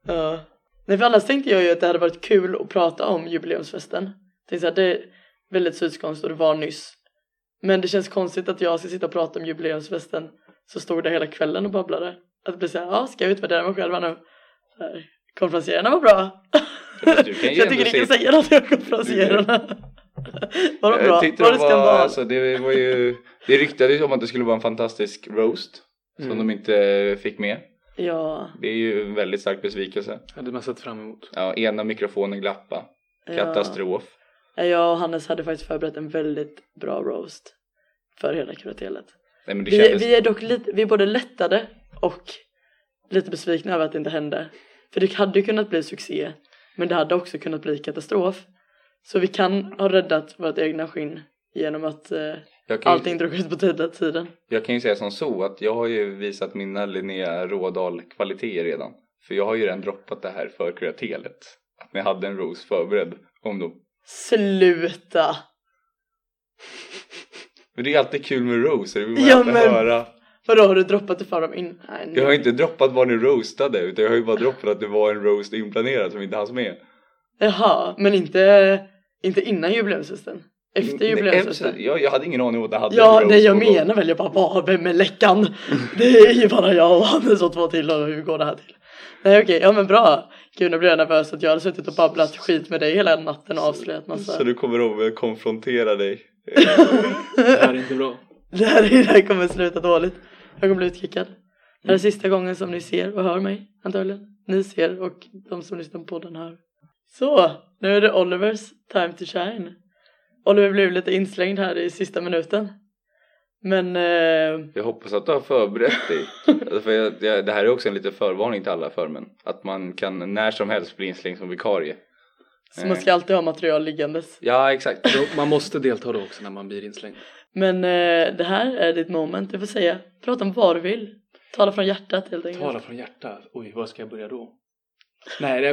A: Ja. Nej för annars tänkte jag ju att det hade varit kul att prata om jubileumsfesten. Tänkte så här, det är väldigt sydskånskt och det var nyss. Men det känns konstigt att jag ska sitta och prata om jubileumsfesten. Så stod det hela kvällen och babblade. Att det blir såhär, ja ska jag utvärdera mig själv här nu? Så här, Konferenserarna var bra.
C: Fast du kan ju
A: jag
C: ändå
A: tycker ni kan
C: se-
A: säga något om konferenserarna. Var de
C: Jag
A: bra?
C: tyckte
A: Var det
C: de
A: skandal?
C: alltså, det var ju, det ryktades ju om att det skulle vara en fantastisk roast. Som
B: Mm.
C: de inte fick med.
A: Ja.
C: Det är ju en väldigt stark besvikelse.
B: Hade man sett fram emot.
C: Ja, ena mikrofonen glappa.
A: ja.
C: Katastrof.
A: Jag och Hannes hade faktiskt förberett en väldigt bra roast för hela kuratelet.
C: Nej, men det
A: Vi,
C: kändes...
A: vi är dock lite, vi är både lättade och lite besvikna över att det inte hände. För det hade ju kunnat bli succé, men det hade också kunnat bli katastrof. Så vi kan ha räddat vårt egna skinn genom att eh,
C: Jag kan ju-
A: allting drog ut på tida- tiden.
C: Jag kan ju säga som så att jag har ju visat mina Linnea Rådahl kvaliteter redan. För jag har ju redan droppat det här för kuratelet. Att ni hade en Rose förberedd om dem.
A: Sluta!
C: Men det är alltid kul med Rose, det vill man
A: Ja,
C: alltid
A: men-
C: höra.
A: Vadå har du droppat det för dem in? Nej, nu.
C: Jag har ju inte droppat vad ni roastade utan jag har ju bara droppat att det var en roast inplanerad som inte hanns med.
A: Jaha, men inte, inte innan jubileumsfesten? Efter
C: Nej,
A: jubileumsfesten?
C: efter- Jag, jag hade ingen aning om att ni hade en
A: Ja,
C: roast
A: nej jag
C: på gång.
A: menar väl jag bara, vad, vem är läckan? Det är ju bara jag och Hannes och två till och hur går det här till? Nej okej, ja men bra. Gud nu blir jag nervös att jag hade suttit och babblat skit med dig hela natten och avslöjat
C: Så
A: massa.
C: du kommer att konfrontera dig.
B: Det här är inte bra.
A: Det här, det här kommer sluta dåligt. Jag kommer bli utkickad. Det
C: Mm.
A: här är sista gången som ni ser och hör mig antagligen. Ni ser och de som lyssnar på den hör. Så, nu är det Olivers time to shine. Oliver blev lite inslängd här i sista minuten. Men eh,
C: Jag hoppas att du har förberett dig. Alltså, för jag, jag, det här är också en liten förvarning till alla förmän. Att man kan när som helst bli inslängd som vikarie.
A: så man ska alltid ha material liggandes.
C: Ja exakt.
B: Då- Man måste delta då också när man blir inslängd.
A: Men eh, det här är ditt moment, du får säga. Prata om vad du vill. Tala från hjärtat helt enkelt.
B: Tala från hjärtat. Oj, var ska jag börja då? Nej, det,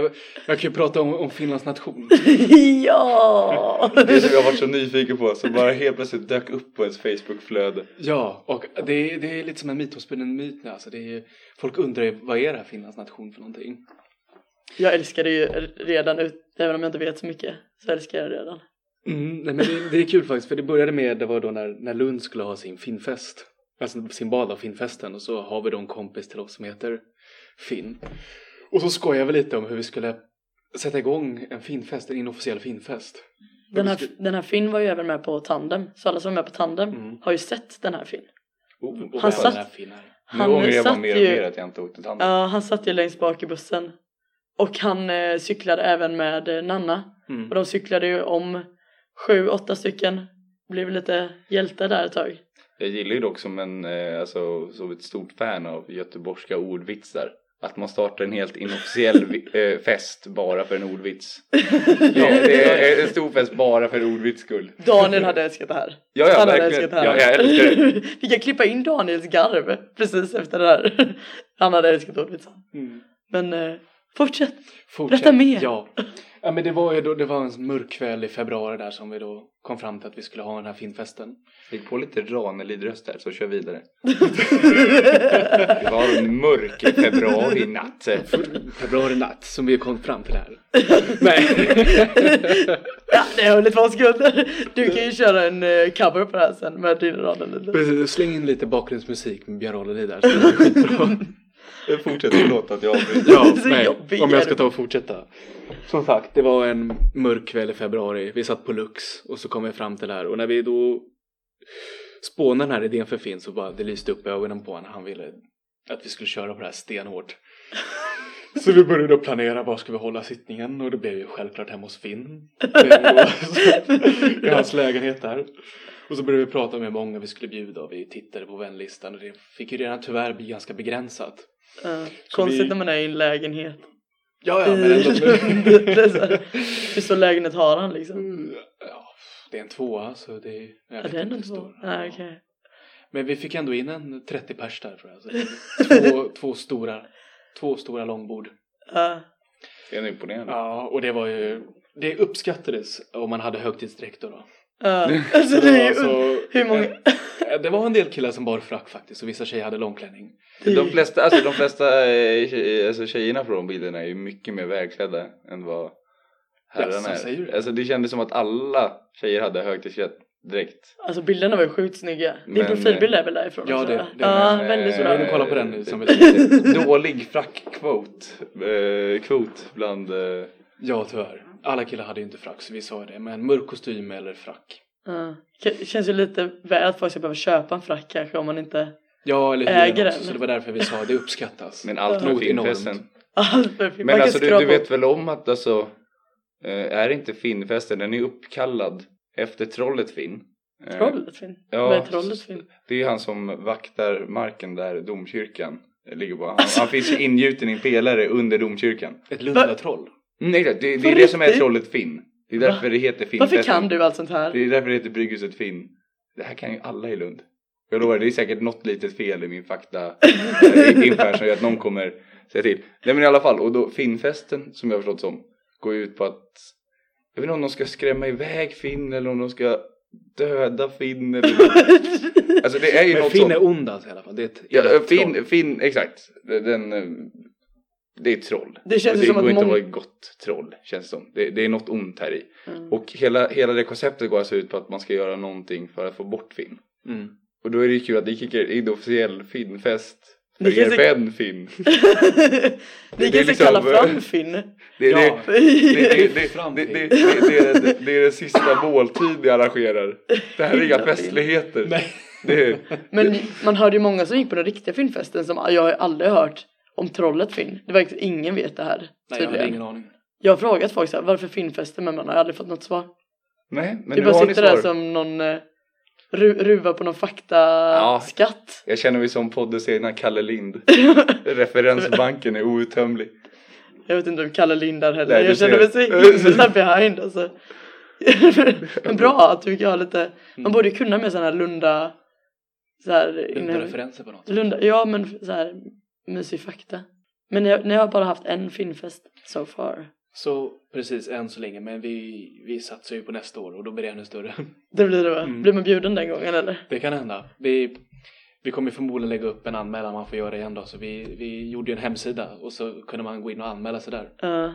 B: jag kan ju prata om, om Finlands nation.
A: ja!
C: Det som jag varit så nyfiken på som bara helt plötsligt dök upp på ens Facebookflöde.
B: Ja, och det, är- det är lite som en mytomspunnen myt nu. Alltså, det är, ju- folk undrar ju, vad är det här Finlands nation för någonting?
A: jag älskar det ju redan, ut, även om jag inte vet så mycket. Så älskar jag det redan.
B: Mm, nej, men det, det är kul faktiskt, för det började med, det var då när, när Lund skulle ha sin finfest. Alltså sin bal av finfesten och så har vi då en kompis till oss som heter Finn. Och så skojar vi lite om hur vi skulle sätta igång en finfest, en inofficiell finfest.
A: Den här, den här Finn var ju även med på Tandem, så alla som var med på Tandem
B: Mm.
A: har ju sett den här Finn.
B: Och, och
A: Han
B: vem
A: satt-
B: den här Finn är.
C: Oh, Nu ångrar jag bara
A: satt
C: mer och
A: ju-
C: mer att jag inte åkte till Hamburg.
A: Ja, han satt ju längst bak i bussen. Och han eh, cyklade även med eh, Nanna.
B: Mm.
A: Och de cyklade ju om sju, åtta stycken. Blev lite hjälte där ett tag.
C: Jag gillar ju dock som en, eh, alltså som ett stort fan av göteborgska ordvitsar. Att man startar en helt inofficiell vi- eh, fest bara för en ordvits. Det, det är en stor fest bara för en ordvits skull.
A: Daniel hade älskat det här.
C: Ja, ja,
A: han hade
C: verkligen.
A: älskat det här.
C: Ja, jag älskar
A: Vi kan klippa in Daniels garv precis efter det här. Han hade älskat ordvitsen.
B: Mm.
A: Men eh, fortsätt.
B: Fortsätt.
A: Berätta mer.
B: Ja. ja men det var ju då, det var en mörk kväll i februari där som vi då kom fram till att vi skulle ha den här filmfesten.
C: Lägg på lite Ranelid-röst där så kör vi vidare. Det var en mörk februari natt.
B: Februari natt som vi kom fram till det här. Nej.
A: ja, det höll i två sekunder. Du kan ju köra en eh, cover på det här sen med din raden lite.
B: Precis, släng in lite bakgrundsmusik med Björn Ranelid där. så det blir skitbra.
C: Jag fortsätter, förlåt att jag avbryter.
B: Ja,
A: Så
B: nej,
A: jobbig
B: om
A: är
B: jag ska
A: du.
B: ta och fortsätta. Som sagt, det var en mörk kväll i februari. Vi satt på Lux och så kom vi fram till det här och när vi då spånade den här idén för Finn så bara det lyste upp i ögonen på honom. Han ville att vi skulle köra på det här stenhårt. Så vi började då planera var ska vi hålla sittningen och det blev ju självklart hemma hos Finn. I hans lägenhet där. Och så började vi prata om hur många vi skulle bjuda och vi tittade på vänlistan och det fick ju redan tyvärr bli ganska begränsat.
A: Ja, konstigt
B: vi-
A: när man är i en lägenhet.
B: Ja, ja,
A: I
B: men
A: Lund.
B: ändå.
A: Det är så här, Hur stor lägenhet har han liksom?
C: Mm.
B: Ja, det är en tvåa så det är... Jag
A: Ja,
B: vet
A: det är
B: inte
A: nog
B: hur
A: två.
B: stor.
A: Ja, okej.
B: Men vi fick ändå in en 30 pers där tror jag. Så det är två, två, stora, två stora långbord.
A: Ja.
C: Det är en imponerande.
B: Ja, och det var ju... Det uppskattades om man hade högtidsdräkt då. då.
A: ja. Alltså det är ju...
B: Alltså,
A: Hur många...
B: eh, Det var en del killar som bar frack faktiskt och vissa tjejer hade långklänning.
C: De flesta, alltså de flesta eh, tjej, alltså tjejerna på de bilderna är ju mycket mer välklädda än vad herrarna
B: Jaså, säger du
C: är.
B: det?
C: Alltså det kändes som att alla tjejer hade högtidsklätt direkt.
A: Alltså bilderna var ju sjukt snygga. Din
C: Men,
A: profilbild är väl därifrån
B: ja,
A: också,
B: det-
A: va?
B: det
A: Ja,
C: Men, eh,
A: väldigt
B: Så
A: bra.
B: vi kolla på den nu som vi-
C: Dålig frackkvot, eh, kvot bland eh,
B: Ja, tyvärr. Alla killar hade ju inte frack så vi sa ju det. Men mörk kostym eller frack.
A: Ja. K- känns ju lite väl att folk ska behöva köpa en frack kanske om man inte...
B: Ja, eller
A: Äger
B: hyra också,
A: den.
B: så det var därför vi sa det uppskattas.
C: men allt med
B: Något enormt.
C: filmfesten.
A: Allt för fint. Man
C: Men
A: kan
C: alltså du,
A: skrapa
C: du
A: upp.
C: vet väl om att alltså eh, är inte Finnfesten, den är uppkallad efter trollet Finn. Eh,
A: Trollet Finn.
C: Ja.
A: Vad är trollet Finn?
C: Det är ju han som vaktar marken där domkyrkan ligger på. Han, han finns ju ingjuten i en pelare under domkyrkan.
B: Ett lundatroll.
C: Nej, det, det, det
A: På
C: är det som är
A: riktigt?
C: trollet Finn. Det är därför det heter Finn.
A: Varför kan du allt sånt
C: Det
A: här?
C: är därför det heter Brygghuset Finn. Det här kan ju alla i Lund. Jag lovar, det är säkert något litet fel i min fakta eh, info här som gör att någon kommer säga till. Nej men i alla fall, och då Finnfesten som jag har förstått som går ju ut på att jag vet inte om de ska skrämma iväg Finn eller om de ska döda Finn eller Alltså det är ju
B: Men
C: något
B: Finn
C: sånt.
B: är ond alltså i alla fall. Det är ett
C: Ja,
B: elakt troll.
C: Finn, Finn, exakt. Den, eh, det är ett troll.
A: Det känns
C: Och
A: ju som
C: går
A: att
C: inte att
A: många-
C: vara ett gott troll, känns det som. Det, det är något ont här i.
A: Mm.
C: Och hela, hela det konceptet går alltså ut på att man ska göra någonting för att få bort Finn.
B: Mm.
C: Och då är det ju kul att ni kickar in officiell Finnfest.
A: Ni
C: För
A: kan
C: er
A: se-
C: vän Finn.
A: Ni
C: det är
A: kanske kallar
C: liksom-
A: fram Finn?
C: Det, det,
B: Ja.
C: det, det,
B: Lyft
C: det,
B: fram
C: det, det,
B: Finn.
C: det, det, är den- det är den sista måltid ni arrangerar. Det här är inga festligheter.
B: Nej.
C: Det är,
A: Men man hörde ju många som gick på den riktiga filmfesten som jag har ju aldrig hört om trollet Finn. Det verkar ingen vet det här.
B: Nej, jag
A: tydligen.
B: hade ingen aning.
A: Jag har frågat folk så här, varför filmfesten men man har aldrig fått något svar.
C: nej, men
A: Du
C: nu
A: bara
C: har ni
A: sitter där
C: svar.
A: som någon eh, ru- ruva på någon faktaskatt.
C: Jag känner mig som poddens egna Kalle Lind. Referensbanken är outtömlig.
A: Jag vet inte om Kalle Lind där heller.
C: Nej, du
A: jag känner mig så
C: ser.
A: himla behind alltså. men bra att du kan ha lite,
C: Mm.
A: man borde ju kunna med sådana här Lunda, så här,
B: Inte
A: inne,
B: referenser på något.
A: Lunda, ja men så här mysig fakta. Men jag, nej, jag har bara haft en filmfest so far.
B: Så precis än så länge, men vi, vi satsar ju på nästa år och då blir det ännu större.
A: Det blir det va?
B: Mm.
A: Blir man bjuden den gången eller?
B: Det kan hända. Vi, vi kommer förmodligen lägga upp en anmälan man får göra igen då. Så vi, vi gjorde ju en hemsida och så kunde man gå in och anmäla sig där.
A: Ja.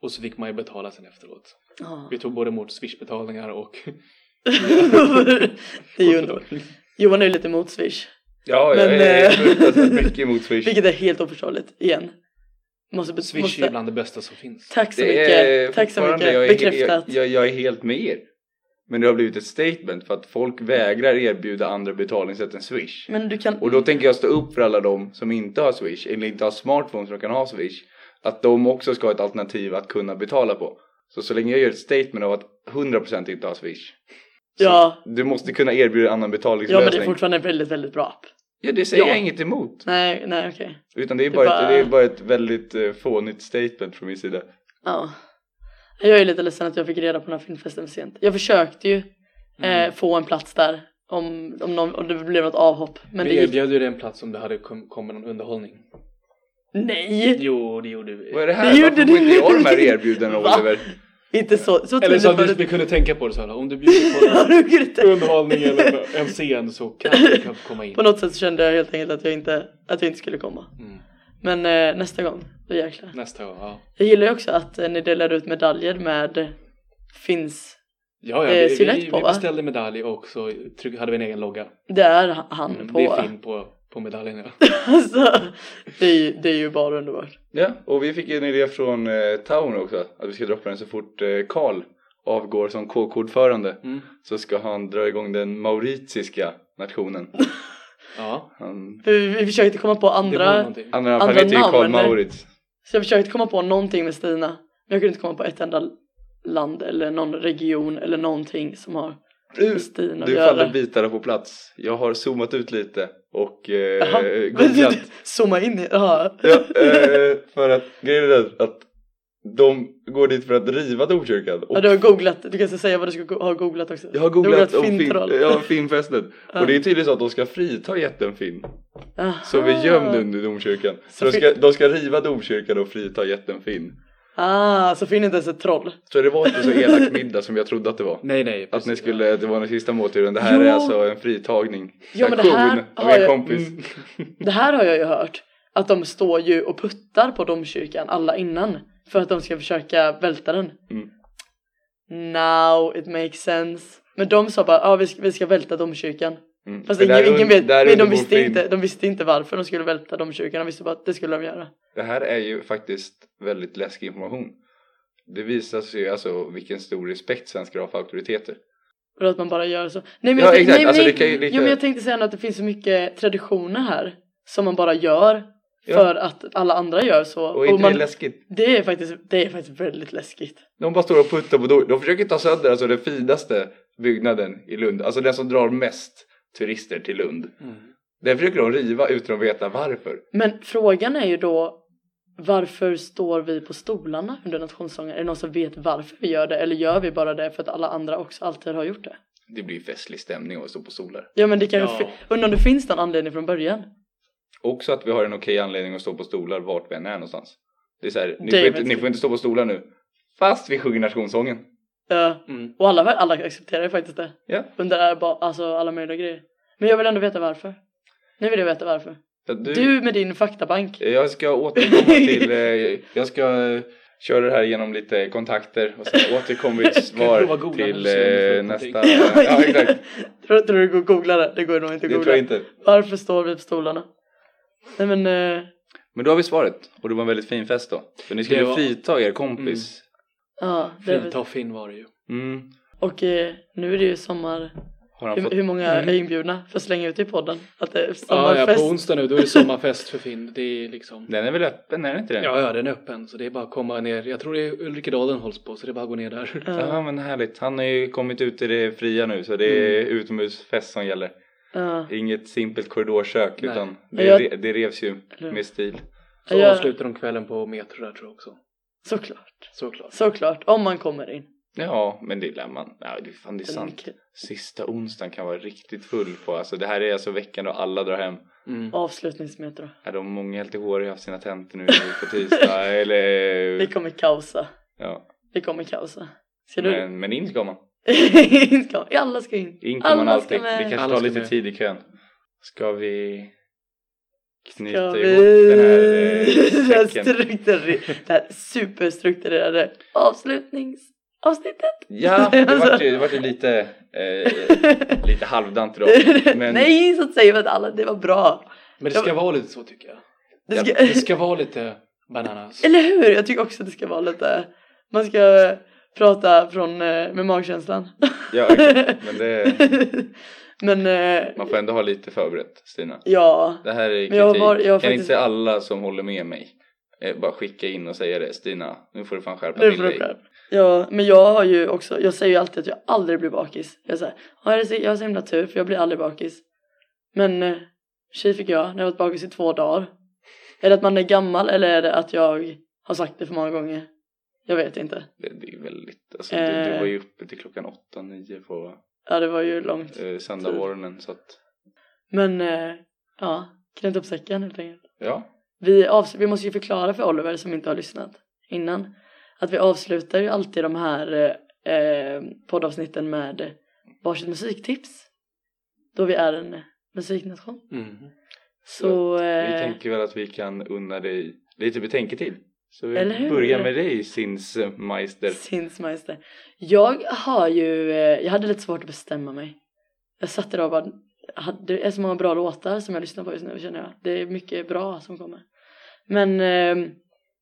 B: Och så fick man ju betala sen efteråt.
A: Ja.
B: Vi tog både emot swishbetalningar och...
A: det är ju underbart. Johan är ju lite emot Swish.
C: Ja, jag
A: Men,
C: är
A: eh,
C: fruktansvärt mycket emot Swish.
A: Vilket är helt oförståeligt, igen. Måste, be-
B: Swish är ju
A: måste.
B: bland det bästa som finns.
A: Tack så
C: Det
A: mycket,
C: är
A: tack så
C: fortfarande-
A: mycket,
C: jag är,
A: bekräftat.
C: Jag, jag, jag är helt med er. Men det har blivit ett statement för att folk vägrar erbjuda andra betalningssätt än Swish.
A: Men du kan...
C: Och då tänker jag stå upp för alla de som inte har Swish eller inte har smartphones som kan ha Swish. Att de också ska ha ett alternativ att kunna betala på. Så så länge jag gör ett statement av att 100% inte har Swish. Så
A: Ja.
C: Du måste kunna erbjuda
A: Ja
C: annan
A: men det
C: betalningslösning.
A: är fortfarande en väldigt, väldigt bra app.
C: Ja, det säger
A: Ja.
C: jag inget emot.
A: Nej, nej okej.
C: Utan det är,
A: Det
C: bara,
A: bara-
C: Ett, det är bara ett väldigt eh, fånigt statement från min sida.
A: Ja. Jag är lite ledsen att jag fick reda på den här filmfesten för sent. Jag försökte ju
C: Mm.
A: eh, få en plats där. Om, om, någon, om det blev något avhopp. Men det
B: vi
A: gick...
B: erbjöd ju dig en plats om det hade kom- kommit någon underhållning.
A: Nej!
B: Jo, det gjorde vi.
C: Vad är det här?
A: Det gjorde
C: Varför får
A: du
C: inte jag de här
A: inte.
C: erbjudandena
A: Va?
C: Oliver?
A: Inte så, så
B: Eller
A: tydligt
B: så att
A: var
B: vi,
A: det.
B: vi kunde tänka på det så här, om du bjuder på en
A: Jag tycker inte-
B: underhållning eller en scen så kan du kanske komma in.
A: På något sätt så kände jag helt enkelt att jag inte, att jag inte skulle komma.
B: Mm.
A: Men eh, nästa gång, då jäklar.
B: Nästa gång, ja.
A: Jag gillar ju också att eh, ni delar ut medaljer med finns.
B: Ja, ja
A: Eh,
B: vi, vi,
A: Synett på,
B: vi
A: va?
B: beställde medalj och så tryck, hade vi en egen logga.
A: Det är han
B: Mm,
A: på.
B: Det är Finn på, på medaljen, ja.
A: alltså, det, är, ju- det är ju bara underbart.
C: Ja, och vi fick en idé från eh, Town också. Att vi ska droppa den så fort eh, Karl avgår som KK-ordförande.
B: Mm.
C: Så ska han dra igång den mauritiska nationen.
B: ja.
C: Han,
A: För vi, vi försökte komma på
B: Det var
A: andra.
B: någonting.
C: han, han, han
A: Andra
C: heter ju Karl
A: namn, eller?
C: Maurits.
A: Så jag försökte komma på någonting med Stina. Men jag kunde inte komma på ett enda land eller någon region eller någonting som har
C: Du,
A: med Stina att
C: du faller
A: göra.
C: bitarna på plats. Jag har zoomat ut lite och
A: Jaha.
C: eh, googlat.
A: Zooma in i, jaha.
C: ja, eh, för att grejen är att de går dit för att riva Dorkyrkan. Och
A: Ja, du har googlat, du kan säga vad du ska go- ha googlat också.
C: jag har
A: du har
C: googlat om
A: googlat
C: fin,
A: fintroll.
C: ja, finfästet.
A: Ja.
C: Och det är tydligen så att de ska frita jätten Finn.
A: Aha.
C: Som är gömd under domkyrkan. Så
A: Ah. Så
C: de
A: fin-
C: ska, de ska riva domkyrkan och frita jätten Finn.
A: Ah, så Finn är inte ens ett troll.
C: Så det var inte så elak middag som jag trodde att det var.
B: Nej, nej.
C: Att
B: precis.
C: ni skulle, att det var den sista måltiden. Det här
A: Jo.
C: är alltså en fritagning.
A: Ja, men det
C: Aktion
A: här
C: av
A: har
C: en
A: jag- mm.
C: kompis.
A: Det här har jag ju hört. Att de står ju och puttar på domkyrkan alla innan. För att de ska försöka välta den.
C: Mm.
A: Now it makes sense. Men de sa bara, ja ah, vi, ska- vi ska välta domkyrkan.
C: Mm.
A: Fast
C: Men
A: ingen,
C: där un-
A: ingen vet,
C: där
A: nej,
C: under
A: de,
C: bor
A: visste
C: Finn.
A: inte, de visste inte varför de skulle välta domkyrkan. De visste bara att det skulle de göra.
C: Det här är ju faktiskt väldigt läskig information. Det visar sig alltså vilken stor respekt svenskar har för auktoriteter.
A: För att man bara gör så. Nej men,
C: Ja,
A: jag, tänkte,
C: exakt.
A: nej, men,
C: Alltså,
A: nej,
C: det kan ju lite-
A: jo, men jag tänkte säga att det finns så mycket traditioner här. Som man bara gör.
C: Ja.
A: För att alla andra gör så.
C: Och inte
A: man,
C: det är läskigt.
A: det, är faktiskt, det är faktiskt väldigt läskigt.
C: De bara står och puttar på dor- De försöker ta sönder alltså den finaste byggnaden i Lund. Alltså den som drar mest turister till Lund.
B: Mm.
C: Den försöker de riva utan att veta varför.
A: Men frågan är ju då varför står vi på stolarna under nationssången? Är det någon som vet varför vi gör det? Eller gör vi bara det för att alla andra också alltid har gjort det?
C: Det blir festlig stämning att stå på solar.
A: Ja men det kan
B: Ja.
A: ju... Undrar om det finns någon anledning från början?
C: Också att vi har en okej anledning att stå på stolar vart vi än är någonstans. Det är så här, ni,
A: Det är
C: får inte,
A: faktiskt-
C: ni får inte stå på stolar nu. Fast vi sjunger nationssången.
A: Ja.
B: Mm.
A: och alla, alla accepterar ju faktiskt det.
C: Ja.
A: Under ba- alltså, alla möjliga grejer. Men jag vill ändå veta varför. Nu vill jag veta varför.
C: Så att
A: Du,
C: du-
A: med din faktabank.
C: Jag ska återkomma till, eh, jag ska eh, köra det här genom lite kontakter och sen återkommer vi ett
B: prova
C: svar
B: googla
C: till
B: nu så ser
C: eh,
B: om du får
C: nästa.
A: någonting.
C: Ja exakt,
A: tror, tror du det går att googla det? Det går nog inte
C: det
A: att googla.
C: tror jag inte.
A: Varför står vi på stolarna? Nej men, eh,
C: Men då har vi svaret och det var en väldigt fin fest då. För ni skulle
B: Det var-
C: frita er kompis.
A: ja. det är väl-
B: Fint av Finn var det ju.
C: Mm.
A: Och eh, nu är det ju sommar.
C: Har han
A: Hur,
C: fått...
A: hur många
C: Mm.
A: är inbjudna? För att slänga ut i podden. Att det är
B: Ja, ja,
A: sommarfest.
B: på onsdag nu då är det sommarfest för Finn. Det är liksom...
C: Den är väl öppen, är den inte det?
B: Ja, ja, den är öppen så det är bara att komma ner. Jag tror det är Ulrikedalen hålls på så det är bara att gå ner där.
A: Ja,
C: Ja men härligt, han har ju kommit ut i det fria nu så det är utomhusfest som gäller.
A: ja.
C: Inget simpelt korridorkök
B: Nej.
C: utan
A: Men
C: det,
A: jag-
C: re- det revs ju
A: Eller-
C: med stil.
B: Så
A: Ja.
B: avslutar de kvällen på Metro där tror jag också.
A: Såklart.
B: Såklart.
A: Såklart. Om man kommer in.
C: Ja men det lär man, ja, det, fan, det är sant. Sista onsdagen kan vara riktigt full på. Alltså det här är alltså veckan då alla drar hem.
B: Mm.
A: Avslutningsmöte då.
C: Är de många helt i hår har haft sina tentor nu på tisdag
A: Det
C: eller?
A: kommer kaosa.
C: Ja.
A: Det kommer kaosa. Ska du?
C: Men, men in ska man.
A: in ska, alla ska in.
C: In kan man
A: Alla ska
C: alltid.
A: med.
C: Det kanske
B: Alla
C: tar
B: ska
C: lite
B: med.
C: tid i kön. Ska vi knyta
A: Ska
C: ihop
A: vi-
C: den här eh,
A: här
C: säcken?
A: strukturerade- det här superstrukturerade avslutningsavsnittet.
C: Ja, det vart ju, det vart ju lite, eh, lite halvdant idag. Men
A: Nej, så säger man att alla, det var bra.
B: Men det ska vara lite så tycker jag.
A: Det
C: Ja,
A: ska,
B: Det ska vara lite bananas.
A: Eller hur? Jag tycker också att det ska vara lite, man ska prata från, eh, med magkänslan.
C: Ja, exakt. Men det,
A: Men eh,
C: man får ändå ha lite förberett, Stina.
A: ja,
C: Det här är kritik.
A: Men jag var- jag var
C: Kan
A: faktiskt-
C: inte alla som håller med mig eh, bara skicka in och säga det? Stina, nu får du fan skärpa
A: nu
C: till
A: får du
C: dig.
A: skärp. Ja, men jag har ju också, jag säger ju alltid att jag aldrig blir bakis. Jag säger, ja, jag är så- jag har så himla tur för jag blir aldrig bakis. Men eh, tjej fick jag när jag varit bakis i två dagar. Är det att man är gammal eller är det att jag har sagt det för många gånger? Jag vet inte.
C: Det, det är väldigt, alltså, du, du
A: Eh.
C: var ju uppe till klockan åtta, nio på
A: Ja, det var ju långt.
C: eh,
A: Typ.
C: söndagsmorgonen så att
A: Men eh, ja, knät upp säcken helt enkelt.
C: ja.
A: Vi, avs- vi måste ju förklara för Oliver som inte har lyssnat innan att vi avslutar ju alltid de här eh, eh, poddavsnitten med varsitt musiktips. Då vi är en musiknation.
B: Mm.
A: Så,
C: Vi
A: eh,
C: tänker väl att vi kan unna dig lite betänketid. Så vi
A: Eller hur?
C: börjar med dig Sinsmeister.
A: Sinsmeister. Jag har ju, eh, jag hade lite svårt att bestämma mig. Jag satt där och bara, hade- det är så många bra låtar som jag lyssnar på just nu känner jag. Det är mycket bra som kommer. Men, eh,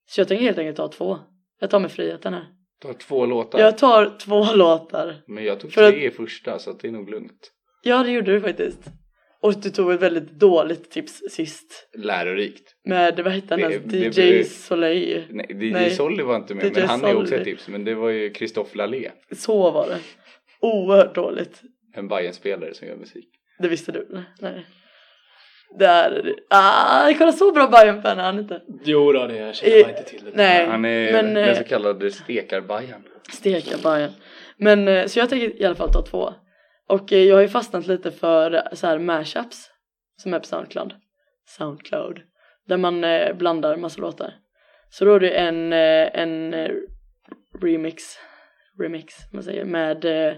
A: så jag tänker helt enkelt ta två. Jag tar mig friheten här.
C: Du har två låtar.
A: Jag tar två låtar.
C: Men jag tog
A: För att-
C: tre i första så att det är nog lugnt.
A: Ja, det gjorde du faktiskt. Och du tog ett väldigt dåligt tips sist.
C: Lärorikt.
A: Med, vad hette han
C: Det-
A: ens?
C: det-
A: DJ Soleil.
C: Nej, DJ
A: Nej.
C: Solly var inte med
A: DJ
C: men han är också
A: Solly.
C: ett tips. Men det var ju Christophe Lallé.
A: Så var det. Oerhört dåligt.
C: En Bajenspelare som gör musik.
A: Det visste du? Nej. Där. Ah, kolla så bra Bajen-fan är han inte.
B: Jo då, det jag känner
A: Eh,
B: man inte till det.
A: Nej.
C: Han är
A: Men, eh,
C: den så kallade stekarbajan.
A: Steka Bajen. Men eh, så jag tänker i alla fall ta två. Och eh, jag har ju fastnat lite för eh, så här mashups. Som är på Soundcloud. Soundcloud. Där man eh, blandar massa låtar. Så då är det en, eh, en eh, remix. Remix, man säger. Med eh,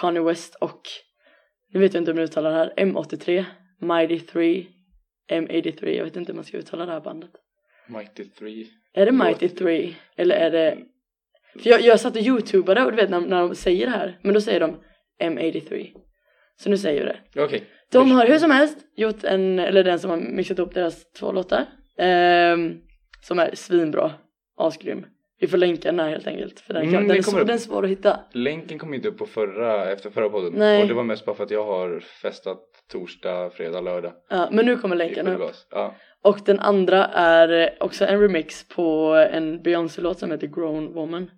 A: Kanye West och nu vet jag inte om jag uttalar det här. M83. Mighty 3. M83. Jag vet inte hur man ska uttala det här bandet.
C: Mighty 3.
A: Är det
C: Låt.
A: Mighty 3? Eller är det... För jag, jag satt och youtubade och du vet när, när de säger det här. Men då säger de M83. Så nu säger jag det.
B: Okej.
A: De har hur som helst gjort en, eller den som har mixat upp deras två låtar. ehm, som är svinbra. Asgrym. Vi får länka den här helt enkelt. För den, kan, den,
C: Mm, den
A: är svår,
C: kommer upp.
A: den är svår att hitta.
C: Länken kom inte upp på förra, efter förra podden.
A: Nej.
C: Och det var mest bara för att jag har festat torsdag, fredag, lördag.
A: Ja, men nu kommer
C: i
A: länken
C: full
A: upp.
C: gas. Ja.
A: Och den andra är också en remix på en Beyoncé-låt som heter Grown Woman.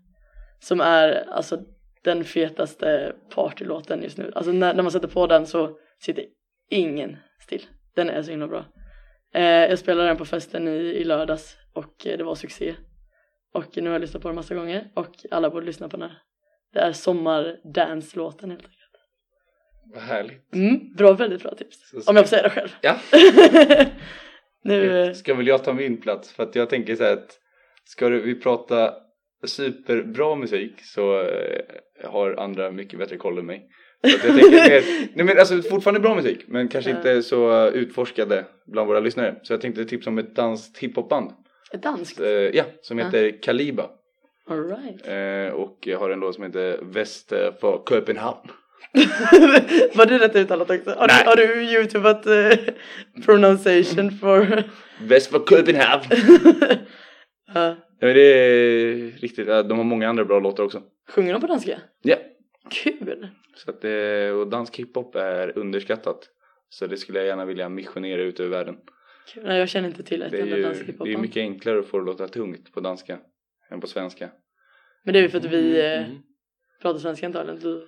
A: Som är alltså den fetaste partylåten just nu. Alltså när, när man sätter på den så sitter ingen still. Den är så himla bra. Eh, jag spelade den på festen i, i lördags och eh, det var succé. Och nu har jag lyssnat på den massa gånger och alla borde lyssna på den här. Det är sommardance-låten helt enkelt.
C: Vad härligt.
A: Mm, bra, väldigt bra tips.
C: Så ska-
A: Om jag får säga det själv.
C: Ja.
A: nu... eh,
C: Ska väl jag ta min plats? För att jag tänker så här att ska du, vi prata superbra musik så eh, har andra mycket bättre koll än mig. Så att jag tänker mer, nej men alltså fortfarande bra musik men kanske
A: Ja.
C: inte så eh, utforskade bland våra lyssnare. Så jag tänkte tipsa om ett danskt hiphopband.
A: Ett Danskt?
C: Eh, ja, som
A: Ja.
C: heter Kaliba.
A: Alright.
C: Eh, och jag har en låt som heter Väst eh, för Köpenhamn.
A: Var det rätt uttalat också? Har, du,
C: Nej.
A: har du youtubat eh, pronunciation for...
C: Väst för Köpenhamn!
A: Ja.
C: Ja, men det är riktigt, ja, de har många andra bra låtar också.
A: sjunger de på danska?
C: Ja.
A: Kul!
C: Så att det, och dansk hiphop är underskattat. Så det skulle jag gärna vilja missionera ut över världen.
A: Kul. Nej, jag känner inte till ett
C: Det är
A: enda danskt
C: ju det är
A: hiphopband.
C: mycket enklare att få det att låta tungt på danska än på svenska.
A: Men det är ju för att vi
B: Mm.
A: eh,
C: Mhm.
A: pratar svenska antagligen. Du...
C: Ja,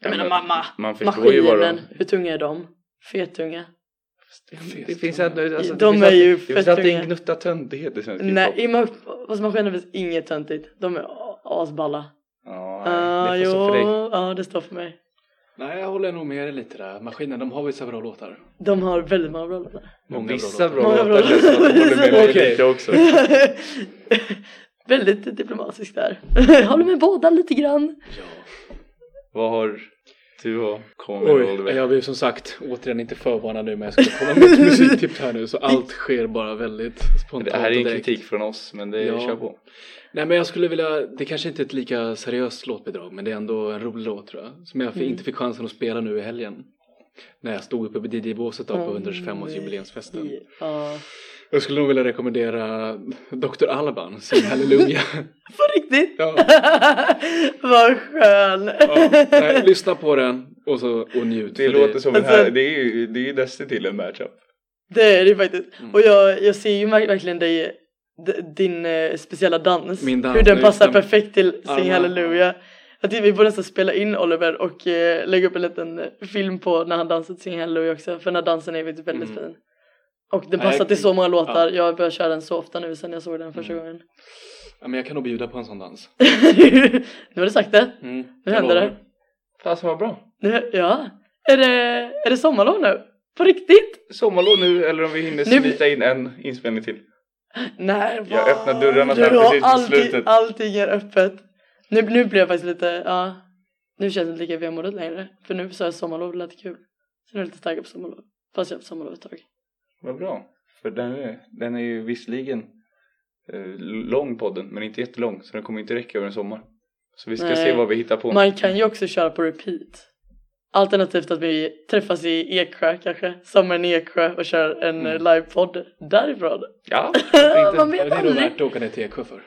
A: Jag menar
C: men-
A: mamma!
C: Man förstår ju vad de...
A: Maskinen, hur tunga är de? Fettunga?
C: Det, det finns ändå... Alltså,
A: De
C: det finns
A: är
C: alltid-
A: ju
C: Det finns alltid
A: fettunga.
C: en gnutta töntighet i svensk
A: Nej,
C: hiphop.
A: i ma- hos maskinen finns inget töntigt. De är a- asballa.
C: Ja,
A: Ja,
C: nej, det får stå för dig.
A: Ah, jo, ja, det står för mig.
B: Nej, jag håller nog med dig lite där. Maskinen, de har vissa bra låtar.
A: De har väldigt många bra låtar.
B: Många
C: Vissa
B: bra
C: bra
B: låtar.
A: Många
C: låtar
A: bra
C: känns som att de håller med mig
B: Okej.
C: lite också.
A: Väldigt diplomatisk där. Håller med båda lite grann.
B: Ja.
C: Vad har du att komma med
B: Oj,
C: Oliver?
B: jag blev som sagt återigen inte förvarnad nu men jag skulle komma med ett musiktips här nu så allt sker bara väldigt spontant
C: Det här är
B: och
C: en
B: direkt.
C: kritik från oss men det
B: Ja.
C: kör på.
B: Nej men jag skulle vilja, det kanske inte är ett lika seriöst låtbidrag men det är ändå en rolig låt tror jag. Som jag f-
A: Mm.
B: inte fick chansen att spela nu i helgen. När jag stod uppe vid DJ-båset då på
A: Åh,
B: 125-årsjubileumsfesten.
A: I- Ja.
B: Jag skulle nog vilja rekommendera Dr. Alban sin Halleluja.
A: På riktigt?
B: ja.
A: Vad skön!
B: Ja, nej, lyssna på den och, så, och njut.
C: Det
B: för
C: låter som en
A: Alltså-
C: här, det är ju, det är ju nästan till en matchup.
A: Det är det faktiskt.
B: Mm.
A: Och jag, jag ser ju verk- verkligen dig, d- din eh, speciella dans.
B: Min dans,
A: hur
B: ja,
A: den
B: just
A: passar
B: det. liksom
A: perfekt till Sing
B: Armarna.
A: Hallelujah. Jag tycker vi borde nästan spela in Oliver och eh, lägga upp en liten eh, film på när han dansar till Sing Hallelujah också. För den här dansen är faktiskt väldigt
B: Mm.
A: fin. Och den
B: Nej,
A: passar till så många låtar.
B: ja. Mm.
A: Jag börjar köra den så ofta nu sen jag såg den första gången.
B: Ja, men jag kan nog bjuda på en sån dans.
A: nu har du sagt det.
B: Mm.
A: Nu händer det.
C: Fasen vad bra.
A: Nu, ja. Är det, är det sommarlov nu? På riktigt?
C: Sommarlov nu eller om vi hinner
A: Nu-
C: slita in en inspelning till.
A: Nej,
C: Jag
A: vad?
C: öppnar dörrarna
A: du
C: där
A: har
C: precis på slutet.
A: Allting är öppet. Nu, nu blev jag faktiskt lite, ja. Nu känns det inte lika vemodigt längre. För nu sa jag sommarlov, det lät kul. Så nu är jag lite taggad på sommarlov. Fast jag har haft sommarlov ett tag.
C: Vad bra. För den är, den är ju visserligen eh, lång podden men inte jättelång så den kommer inte räcka över en sommar. Så vi ska
A: Nej.
C: se vad vi hittar på.
A: Man kan ju också köra på repeat. Alternativt att vi träffas i Eksjö kanske. Sommaren i Eksjö och kör en
C: Mm.
A: mm. livepodd därifrån.
C: Ja,
A: Man
B: Ja,
A: vet
B: det är nog
A: aldrig.
B: värt att åka ner till Eksjö för.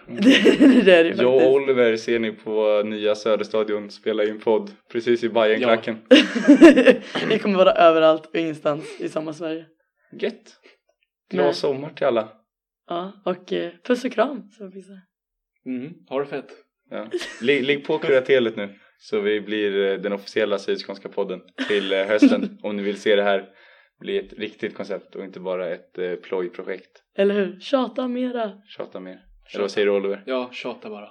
A: det är det ju
C: jag och
A: faktiskt.
C: Oliver ser ni på nya Söderstadion spela in podd precis i Bajenklacken.
A: Vi kommer vara överallt och ingenstans i samma Sverige.
C: Gött! Glad
A: Nej.
C: sommar till alla.
A: Ja, och eh, puss och kram. Så vi säger.
B: Mm. Ha det fett.
C: Ja. Ligg, ligg på kuratelet nu så vi blir eh, den officiella Sydskånska podden till eh, hösten om ni vill se det här bli ett riktigt koncept och inte bara ett eh, plojprojekt.
A: Eller hur? Tjata mera.
C: Tjata mer. Eller vad säger du Oliver?
B: Ja, tjata bara.